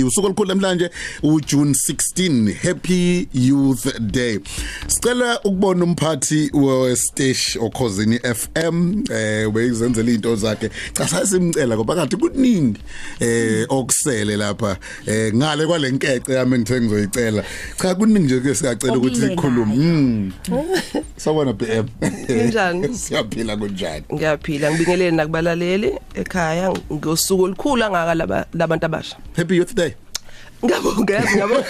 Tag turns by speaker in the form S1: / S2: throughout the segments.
S1: usuku olukhulu namhlanje uJune 16 Happy Youth Day sicela ukubona umphathi westeshi okhosini FM eh wayizenzela izinto zakhe cha sasimcela ngoba kanti kuningi eh okusele lapha eh ngale kwalenkece yami ngithe ngizoyicela cha kuningi nje ke siyacela ukuthi sikhulume sawona BM
S2: Kunjani?
S1: siyaphila kunjani
S2: Ngiyaphila ngibingelele nakubalaleli ekhaya ngosuku olukhulu angaka laba- labantu abasha.
S1: Happy Youth Day
S2: Ngiyabonga yazi ngiyabonga.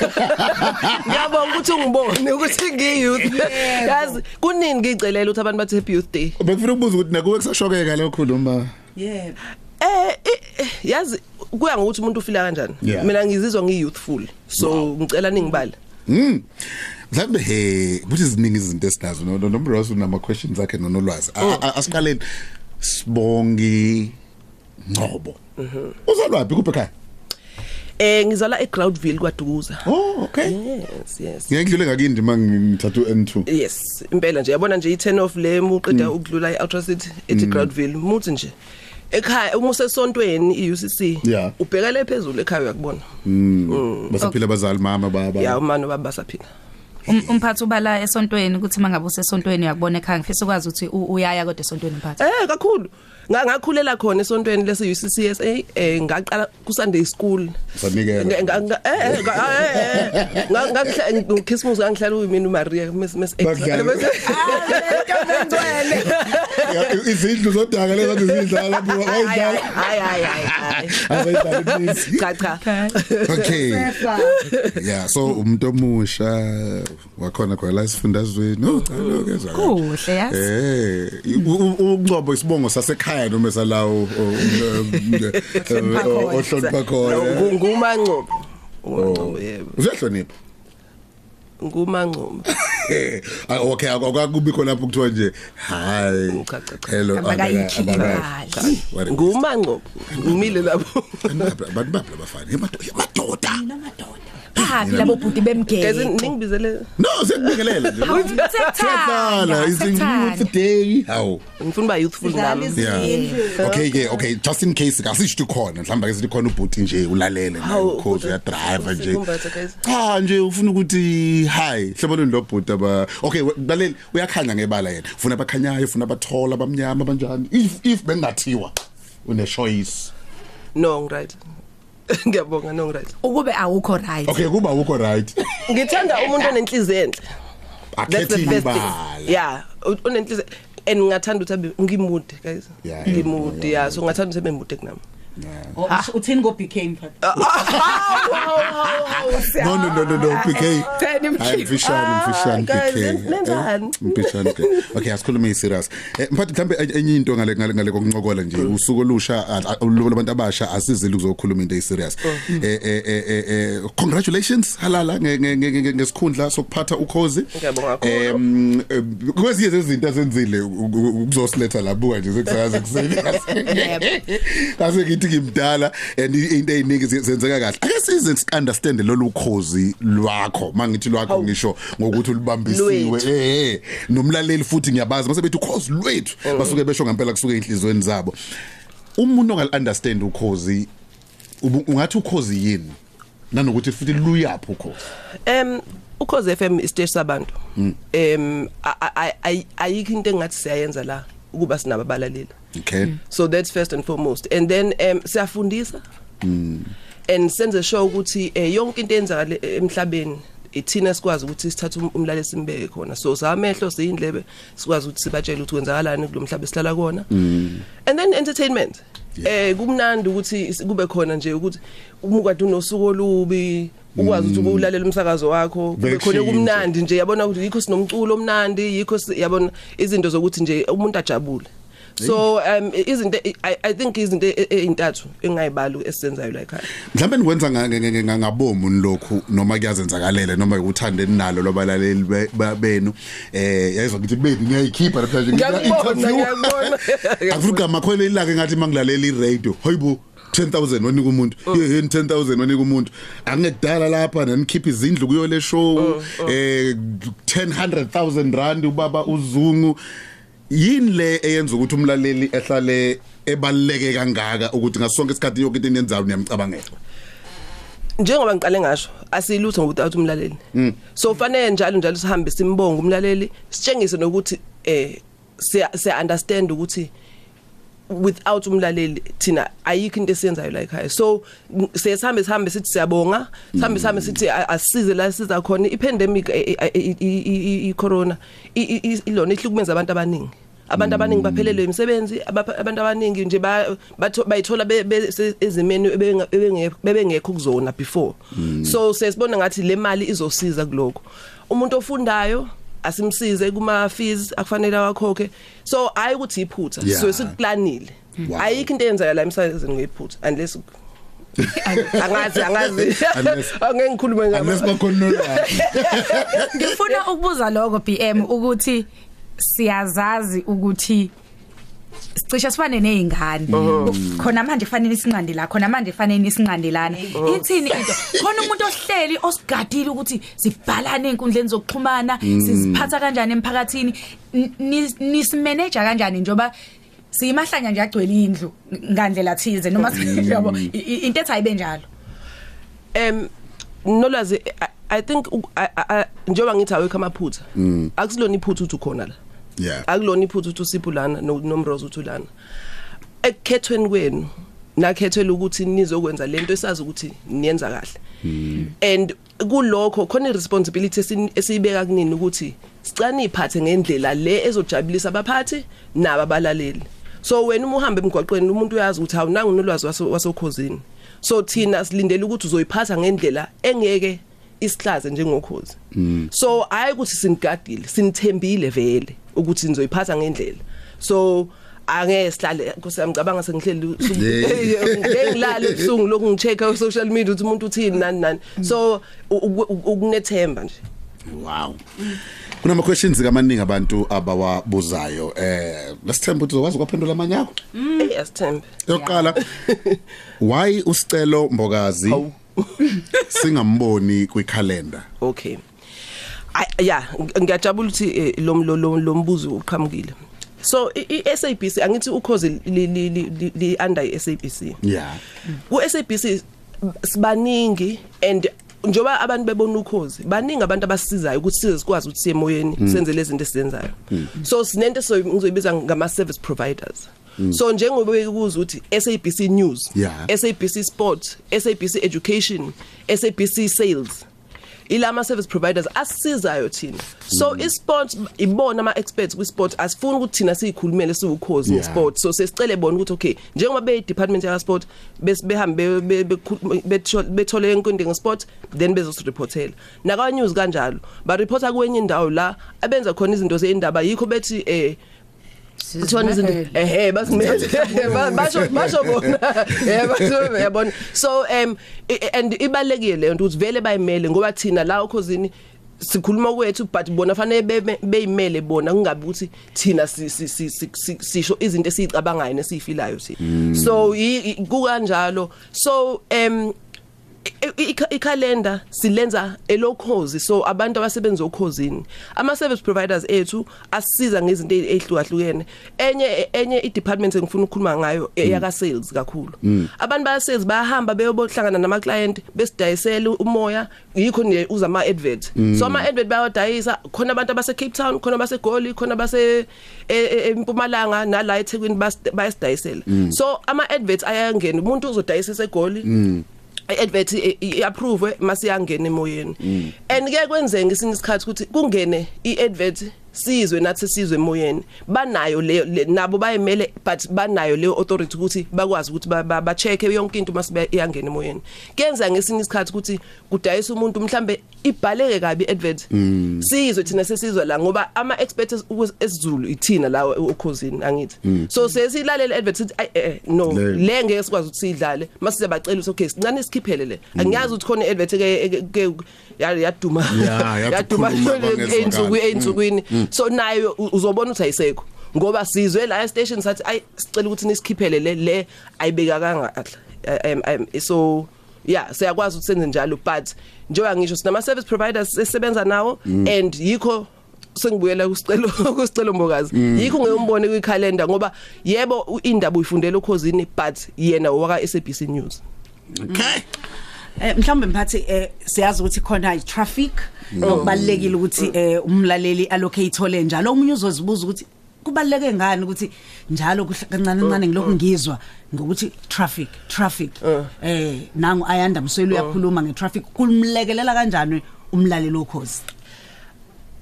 S2: Ngiyabonga ukuthi ungibone ukuthi ngiyouth. Yazi kunini ngicelela ukuthi abantu bathi happy youth day.
S1: bekufuna ukubuza ukuthi nakuwe kusashokeka lokhuluma
S3: Yebo.
S2: Eh i- eh, yazi kuya ngokuthi umuntu ufila kanjani.
S1: Yeah.
S2: Mina ngizizwa ngiyouthful. So ngicela ningibale.
S1: Mm. Mhlawumbe eh, he kuthi ziningi izinto esinazo no no Ross unama questions akhe nonolwazi. A-
S2: Oh.
S1: a- Asiqaleni sibongi Ngqobo.
S2: Mm-hmm.
S1: Uzalwapi kuphi ekhaya?
S2: Eh ngizala eGroundville kwaDukuza.
S1: Oh, okay.
S2: Yes, yes.
S1: Ngiyakudlule ngakini ndima ngithatha u-N2.
S2: yes impela nje yabona nje i10 off le muqeda
S1: Mm.
S2: ukudlula iOutra City ethi Groundville muthi nje ekhaya uma usesontweni iUCC
S1: Yeah.
S2: ubheka le phezulu ekhaya uyakubona Mm.
S1: Basaphila abazali mama
S2: ya
S1: baba.
S2: umama baba basaphila
S3: Okay.
S4: Um- umphathi ubala esontweni ukuthi mangabe usesontweni uyakubona ekhaya ngifisa ukwazi ukuthi u- uyaya kodwa esontweni umphathi
S2: eh kakhulu Nga- ngakhulela khona esontweni lese UCCSA eh ngaqala ku Sunday school
S1: Sanikela.
S2: Nga- nga- nga- eh eh, nga- eh, eh ngakhihle Christmas ngangihlala uMina uMaria Miss Miss
S1: Bakudlala. Ya, i- Izindlu zodaka lezi kade zidlala lapho wayidlala.
S2: hayi hayi hayi
S1: Azayidlala please.
S2: cha cha
S1: Okay. Yeah, so umuntu omusha wakhona kwela sifundazweni. Oh, cha lo ke zakho.
S4: kuhle yazi
S1: Eh, u- u- uNgcobo isibongo sasekhaya noma salawo ohlonipha khona.
S2: ngumancobo
S1: Oh.
S2: umancobo Oh, yebo
S1: Uyahlonipha.
S2: ngumancobo
S1: Eh, ah, Okay, akukubikho lapho kuthiwa nje hayi.
S2: Cha, cha, cha.
S1: Hello.
S4: Abakayikhiphi
S1: abaka-
S4: imali.
S1: What a-
S2: ngumancobo ngumile lapho
S1: Abantu babla bafana, eh, yamadoda, yamadoda.
S4: phapi labo bhuti
S2: kaze
S4: bemgeke
S2: ningibizele
S1: No, siyakubingelela nje. Siyathanda, is youth day. Hawu.
S2: ngifuna ba youthful nami Oh.
S1: Yeah. Okay ke, okay, just in case kasisho ukukhona, mhlamba ke sithi khona ubhuti nje ulalele nayo
S2: Hawu,
S1: ukhozi
S2: kodwa-
S1: uya drive nje.
S2: Sikumbatha, guys.
S1: Cha nje ufuna ukuthi hi, hloboneni lo bhuti aba. Okay, we- balaleli uyakhanya ngebala yena. Ufuna abakhanyayo, ufuna abathola, abamnyama banjani. If if bengathiwa une choice.
S2: no ngiright ngiyabonga no ngiright
S4: ukube awukho right
S1: Okay, kuba ukho right.
S2: ngithanda umuntu onenhliziyo enhle that's the
S1: Akhethi
S2: first thing
S1: ibala.
S2: yeah u- onenhliziyo and ngathanda ukuthi abe ngimude guys
S1: Yeah, yeah,
S2: ngimude
S1: yeah,
S2: yeah so ngathanda ukuthi abe mude kunami
S3: Uthini go became phat?
S1: No no no no no
S2: Ah,
S1: PK.
S4: Tell him
S1: I'm fishane mfishane
S2: guys,
S1: PK.
S2: nenzani?
S1: Eh, Mfishane PK. Okay, asikhulume iserious. Eh mfati mhlambe enye into ngale ngale ngale kokuncokola nje
S2: Mm.
S1: usuku olusha ah, ah, lo- labantu abasha asizile ukuzokhuluma into eserious.
S2: Mm.
S1: Eh eh eh, eh eh congratulations halala nge- nge- nge- nge- ngesikhundla sokuphatha ukhozi.
S2: Ngiyabonga kakhulu.
S1: Em eh, kwezinye zezinto asenzile ukuzosiletha labuka nje sekusayazi kuseni. Ase ngithi ngimdala and i- into eziningi zi- zenzeka kahle. Ake size understand lolu ukhozi lwakho. Mangithi lwakho ngisho ngokuthi ulibambisiwe
S2: Lwethu.
S1: eh eh nomlaleli futhi ngiyabazi mase bethi ukhozi lwethu basuke besho ngempela kusuke enhlizweni zabo. Umuntu ongal understand ukhozi ubu- ungathi ukhozi yini? nanokuthi futhi luyaphi ukhozi
S2: Em ukhoze FM isiteshi sabantu. Em a- a- a- ayikho into engathi siyayenza la ukuba sinababalaleli.
S1: okay
S2: So that's first and foremost. And then em siyafundisa. And senze show ukuthi eh, yonke into eyenzakala emhlabeni ithina sikwazi ukuthi sithathe um- umlaleli simbeke khona. So samehlo siyindlebe sikwazi ukuthi sibatshele ukuthi kwenzakalani kulomhlaba esihlala kuona. And then entertainment. Eh kumnandi ukuthi is- kube khona nje ukuthi umukade unosuku olubi ukwazi ukuthi ubulalela umsakazo wakho kube khona
S1: Bekushintshe.
S2: kumnandi nje yabona ukuthi yikho sinomculo omnandi yikho si- yabona izinto zokuthi nje umuntu ajabule so um izinto e- i i think izinto e- e- eyintathu engayibalu esizenzayo la ekhaya
S1: mhlawumbe nikwenza nga- nga- nga- nga- ngabomu lokhu noma kuyazenzakalele noma ukuthande ninalo labalaleli be- ba- benu eh yayizwa ngithi baby ngiyayikhipha lapha nje
S2: Ngiyakubona, ngiyakubona.
S1: akufuna gama khona ilake ngathi mangilalela iradio hoyibo 10000 wanika umuntu yeheni 10000 wanika umuntu angedala lapha nanikhipha izindlu kuyo le show eh 1000000 rand ubaba uzungu yini le eyenza ukuthi umlaleli ehlale ebaleke kangaka ukuthi ngasonke isikhathi yonke into enenzayo niyamcabangela
S2: njengoba ngiqale ngasho asilutho ngokuthi umlaleli so ufanele njalo njalo sihambe simbonga umlaleli sitshengise nokuthi eh siya siya understand ukuthi without umlaleli thina ayikho into esiyenzayo la ekhaya so n- siye sihambe sihambe sithi siyabonga sihambe sihambe sithi a- asisize la siza khona i-pandemic eh, eh, i- i- i- i-corona i- i- i- ilona ihlukumeza abantu abaningi abantu abaningi baphelelwe imisebenzi abapha- abantu abaningi nje ba- batho- bayithola be- be- se- ezimeni ebenge- ebenge- bebengekho kuzona before so sesibona ngathi le mali izosiza kuloko umuntu ofundayo asimsize kuma fees akufanele awakhokhe so hayi ukuthi iphutha
S1: Yeah.
S2: so sikuplanile
S1: Wow.
S2: ayikho into eyenzeka la emsakazweni ngephutha unless angazi angazi
S1: Unless-
S2: angeke ngikhulume
S1: unless
S2: ngalo
S1: bakhona nolwazi
S4: ngifuna ukubuza lokho BM ukuthi siyazazi ukuthi sicishe sifane nezingane khona manje fanele isinqande la khona manje fanele isinqandelana ithini into khona umuntu ohleli osigadile ukuthi sibhalane enkundleni zokuxhumana siziphatha kanjani emphakathini N- ni- nisimanager kanjani njoba siyimahlanya nje agcwele indlu ngandlela thize noma yabo i- i- into ethi ayibe njalo
S2: um nolwazi I- i think u- I- I- I- njengoba ngithi awekho amaphutha
S1: Mm.
S2: akusilona iphutha uthi ukhona la
S1: yeah
S2: akulona iphutha uthi usipulana nomroza uthi ulana ekukhethweni kwenu nakhethelwa ukuthi nizokwenza lento esazi ukuthi niyenza kahle and kulokho khona iresponsibility esi- esiyibeka kunini ukuthi sicane iphathe ngendlela le ezojabulisa abaphathi naba abalaleli so wena uma uhamba emgwaqweni umuntu uyazi ukuthi awunanga unolwazi waso- wasokhozini so thina silindele ukuthi uzoyiphatha ngendlela engeke isihlaze njengokhozi so hayi ukuthi sinigadile sinithembile vele ukuthi nizoyiphatha ngendlela so angeke sihlale kusiyamcabanga sengihleli usuku-
S1: Yeah.
S2: ngeke ngilale ebusuku lokhu ngicheck e social media ukuthi umuntu uthini nani nani so u- u- u- ukunethemba nje
S1: wow kunama questions kamaningi abantu abawabuzayo eh lesithemba ukuthi uzokwazi ukuphendula amanyako
S2: Eh, asithembe
S1: yokuqala why usicelo mbokazi
S2: Hawu.
S1: singamboni kwikhalenda
S2: okay Ay- yeah ng- ngiyajabula ukuthi eh, lo lo- lo lo mbuzo uqhamukile so i- i SABC angithi ukhoze li li- li li under i SABC
S1: yeah
S2: ku SABC sibaningi and njoba abantu bebona ukhozi baningi abantu abasizayo ukuthi size sikwazi ukuthi siye emoyeni senze lezi zinto esizenzayo so sinento esizoy- ngizoyibiza ngama service providers so njengoba ukuza ukuthi SABC news
S1: Yeah.
S2: SABC sport SABC education SABC sales ilama service providers asizayo thina so isports ibona ama experts ku sport asifuni ukuthi thina siyikhulumele siwukhozi
S1: Yeah.
S2: yeah. sport so sesicele bona ukuthi okay njengoba be department ya sport bes- behambe be- bekhulu- betho- bethole yonke into ngesport then bezosirepортela naka news kanjalo ba reporta kwenye indawo la abenza khona izinto zeindaba yikho bethi eh kuthiwa izinto ehe basimele Ba- eh, basho basho bona eh basho yabona so um i- i- and ibalekile leyo nto ukuthi vele bayimele ngoba thina la ukhosini sikhuluma kwethu but bona fanele bebe- beyimele bona kungabi ukuthi thina si- si- si- si- si- sisho izinto esizicabangayo nesiyifilayo thina so i- i- kukanjalo so um I- i- i- ikhalenda silenza elokhozi so abantu abasebenza okhozini ama service providers ethu asisiza ngezinto ey- ezihlukahlukene enye enye i department engifuna ukukhuluma ngayo eyaka sales kakhulu abantu baya sales bayahamba beyobohlangana nama client besidayisela umoya yikho nje uza ama advert so ama advert bayawadayisa khona abantu abase Cape Town khona abase Goli khona abase e- e- eMpumalanga nala eThekwini bas- bayasidayisela so ama adverts ayangena umuntu uzodayisa eGoli i-advert i- i- i-approve masiyangena emoyeni and ke kwenzeke ngesinye isikhathi ukuthi kungene i-advert sizwe nathi sizwe emoyeni banayo leyo le- nabo bayimele but banayo leyo authority ukuthi bakwazi ukuthi ba- ba- ba-check-e yonke into masibe iyangena emoyeni kuyenzeka ngesinye isikhathi ukuthi kudayisa umuntu mhlambe ibhaleke kabi i-advert sizwe thina sesizwe la ngoba ama-expert esizulu ithina la okhosini angithi so sesiyilalele i-advert sithi "Ayi, eh, eh, no
S1: Le-
S2: le le ngeke sikwazi ukuthi sidlale masize bacela ukuthi okay sincane sikhiphele le angiyazi ukuthi khona i-advert ke- ke- ke- ya- yaduma
S1: Yeah, yathi ukukhuluma kwangezwakala.
S2: ey'nsuku- ey'nsukwini so nayo u- uzobona ukuthi ayisekho ngoba sizwe la estation sathi ayi sicela ukuthi nisikhiphele le le ayibekakanga kahle Eh, em, em, so yeah siyakwazi ukuthi senze njalo but njengoba ngisho sinama-service providers esebenza nawo and yikho sengibuyela kusicelo kusicelo mbokazi yikho ngeyombone kwikhalenda ngoba yebo u- indaba uyifundela ukhosini but yena owaka SABC news
S1: okay
S3: Eh mhlawumbe mphathi eh siyazi ukuthi khona i traffic
S2: Mm.
S3: nokubalekile ukuthi eh umlaleli allocate thole njalo umunye uzozibuza ukuthi kubaleke ngani ukuthi njalo kuhla- kancane kancane ngilokhu
S2: Mm.
S3: ngizwa ngokuthi traffic traffic eh nangu ayanda
S2: Mm.
S3: msweli uyakhuluma nge traffic kulumlekelela kanjani umlaleli okhozi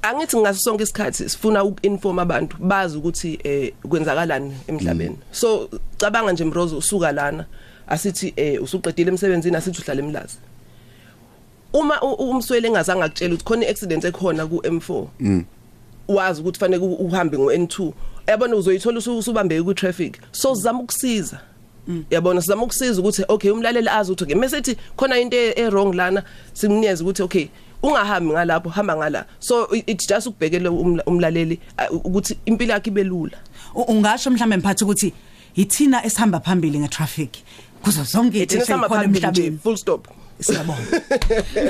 S2: angithi ngaso sonke isikhathi sifuna ukuinform abantu bazi ukuthi eh kwenzakalani emhlabeni so cabanga nje mrozo usuka lana asithi eh usuqedile emsebenzini asithi uhlala emlazi uma u- u- umswele engazange akutshela ukuthi khona iaccident ekhona ku M4 wazi ukuthi fanele u- uhambe ngo N2 yabona uzoyithola usu- usubambeke ku traffic so sizama ukusiza yabona sizama ukusiza ukuthi okay umlaleli azi ukuthi ngemesethi khona into e- e wrong lana simnikeze ukuthi okay ungahambi ngalapho hamba ngala so i- it's just ukubhekele umla- umlaleli ah, ukuthi impilo yakhe ibe lula
S3: U- ungasho mhlawumbe mphathi ukuthi ithina esihamba phambili nge traffic kuzo zonke
S2: ithina
S3: izinto
S2: sihamba
S3: khona
S2: phambili nje
S3: emhlabeni
S2: full stop
S3: siyabonga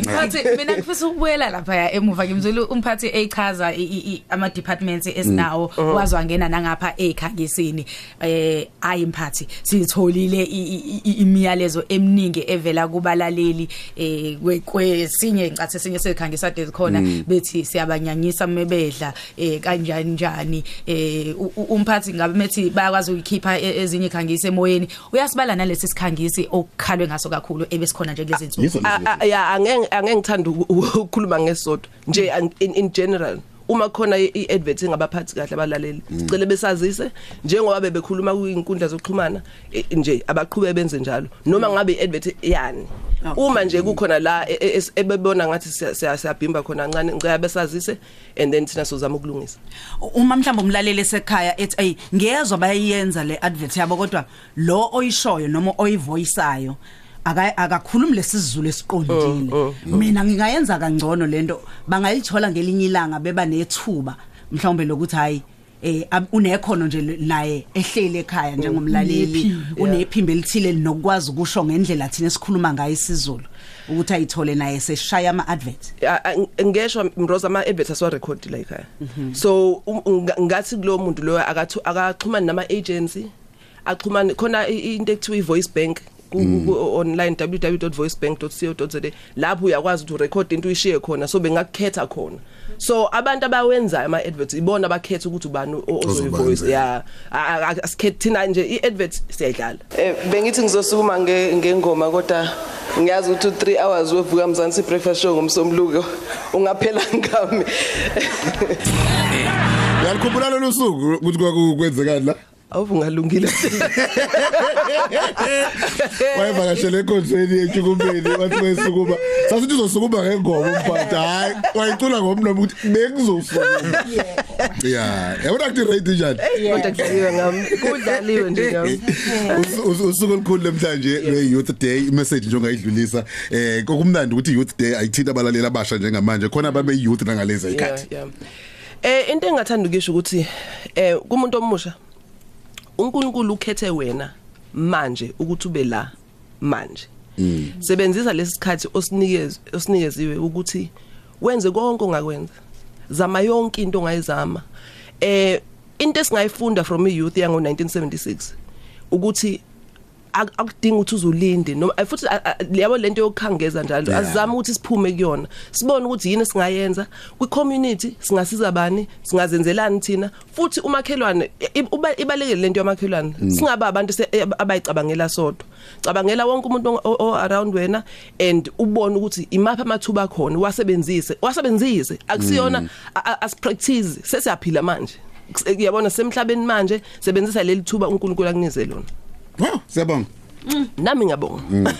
S4: Mkhathi mina ngifisa ukubuyela lapha emuva ngimzulu umphathi echaza i- i- i- ama departments esinawo wazi wangena nangapha ekhakisini eh ayi mphathi sitholile i- i- i- imiyalezo eminingi evela kubalaleli eh kwe- kwesinye ngicathe sinye sekhangisa dezi khona bethi siyabanyanyisa mebedla eh kanjani njani eh u- u- umphathi ngabe methi bayakwazi ukukhipha e- ezinye ikhangisi emoyeni uyasibala nalesi sikhangisi okukhalwe ngaso kakhulu ebesikhona nje kulezi nsuku
S1: yizo
S2: Ah, ah, yeah angeke angeke ngithanda uku- ukukhuluma ngesodwa nje ang- in, in general uma khona i-advert engabaphathi kahle abalaleli sicela besazise njengoba bebekhuluma kwinkundla zokuxhumana eh, nje abaqhubeke benze njalo noma ngabe i-advert yani
S3: Okay.
S2: uma nje kukhona la e- e- es- ebebona ngathi siya- siya- siyabhimba khona kancane ngicela besazise and then thina sizozama ukulungisa
S3: uma mhlawumbe umlaleli esekhaya ethi ay ngiyezwa bayayenza le advert yabo kodwa lo oyishoyo noma oyivoyisayo aka akakhulumi lesizulu esiqondile mina ngingayenza kangcono lento bangayithola ngelinye ilanga beba nethuba mhlawumbe lokuthi hayi eh ab- unekhono nje le- naye ehlele ekhaya njengomlaleli unephimbo elithile linokwazi ukusho ngendlela thina esikhuluma ngayo isizulu ukuthi ayithole naye seshaya ama advert
S2: Ah, ah, ng- ngesho mroza ama adverts aswa record la ekhaya so um- nga- ngathi kulowo muntu loyo akathu- akaxhumani nama agency axhumane khona i- into ekuthiwa i voice bank ku- ku- online www.voicebank.co.za lapho uyakwazi ukuthi urecord into uyishiye khona so bengakukhetha khona so abantu abawenzayo ama adverts ibona abakhetha ukuthi ubani o- ozoyivoice
S1: Ozobandela.
S2: yeah Ah, ah, ah, asikhethe thina nje i-advert siyayidlala eh bengithi ngizosukuma nge- ngengoma kodwa ngiyazi ukuthi u3 hours wevuka mzansi breakfast show ngomsombuluko ungaphela ngami
S1: Yalikhumbula lolu suku ukuthi kwakwenzekani la?
S2: awuvungalungile
S1: Wayevakashele ekhonzweni yechukumeni wathi wesukuma. Sasithi uzosukuma ngengoma umphathi. Hayi, wayicula ngomlomo ukuthi bengizosukuma. Yeah, yabona ukuthi radio njani?
S2: kodwa kudlaliwe ngami kudlaliwe nje ngami
S1: Usu- usu- usuku olukhulu lemhlanje lwe-youth day imessage nje ongayidlulisa um kokumnandi ukuthi i-youth day ayithinta abalaleli abasha njengamanje khona babe-youth nangalezi ayikhathi
S2: Yeah, yeah. Eh into engathanda ukisho ukuthi eh kumuntu omusha uNkulunkulu ukhethe wena manje ukuthi ube la manje. Sebenzisa lesikhathi osinikeze osinikeziwe ukuthi wenze konke ongakwenza. Zama yonke into ongayizama. Eh into esingayifunda from iyouth yango 1976 ukuthi ak- akudingi ukuthi uzulinde noma eh, futhi ah, ah, yabo lento yokukhangeza njalo
S1: Yeah.
S2: azama ukuthi siphume kuyona sibone ukuthi yini singayenza kwi community singasiza bani singazenzelani thina futhi umakhelwane i- uba- ibalekele lento yamakhelwane singaba abantu se- eh, abayicabangela sodwa cabangela wonke umuntu o- o o- around wena and ubone ukuthi imapha amathuba khona wasebenzise wasebenzise akusiyona a- a- asipractice sesiyaphila manje Kus- eh, yabona semhlabeni manje sebenzisa leli thuba uNkulunkulu akunize lona
S1: wow siyabonga
S2: nami ngiyabonga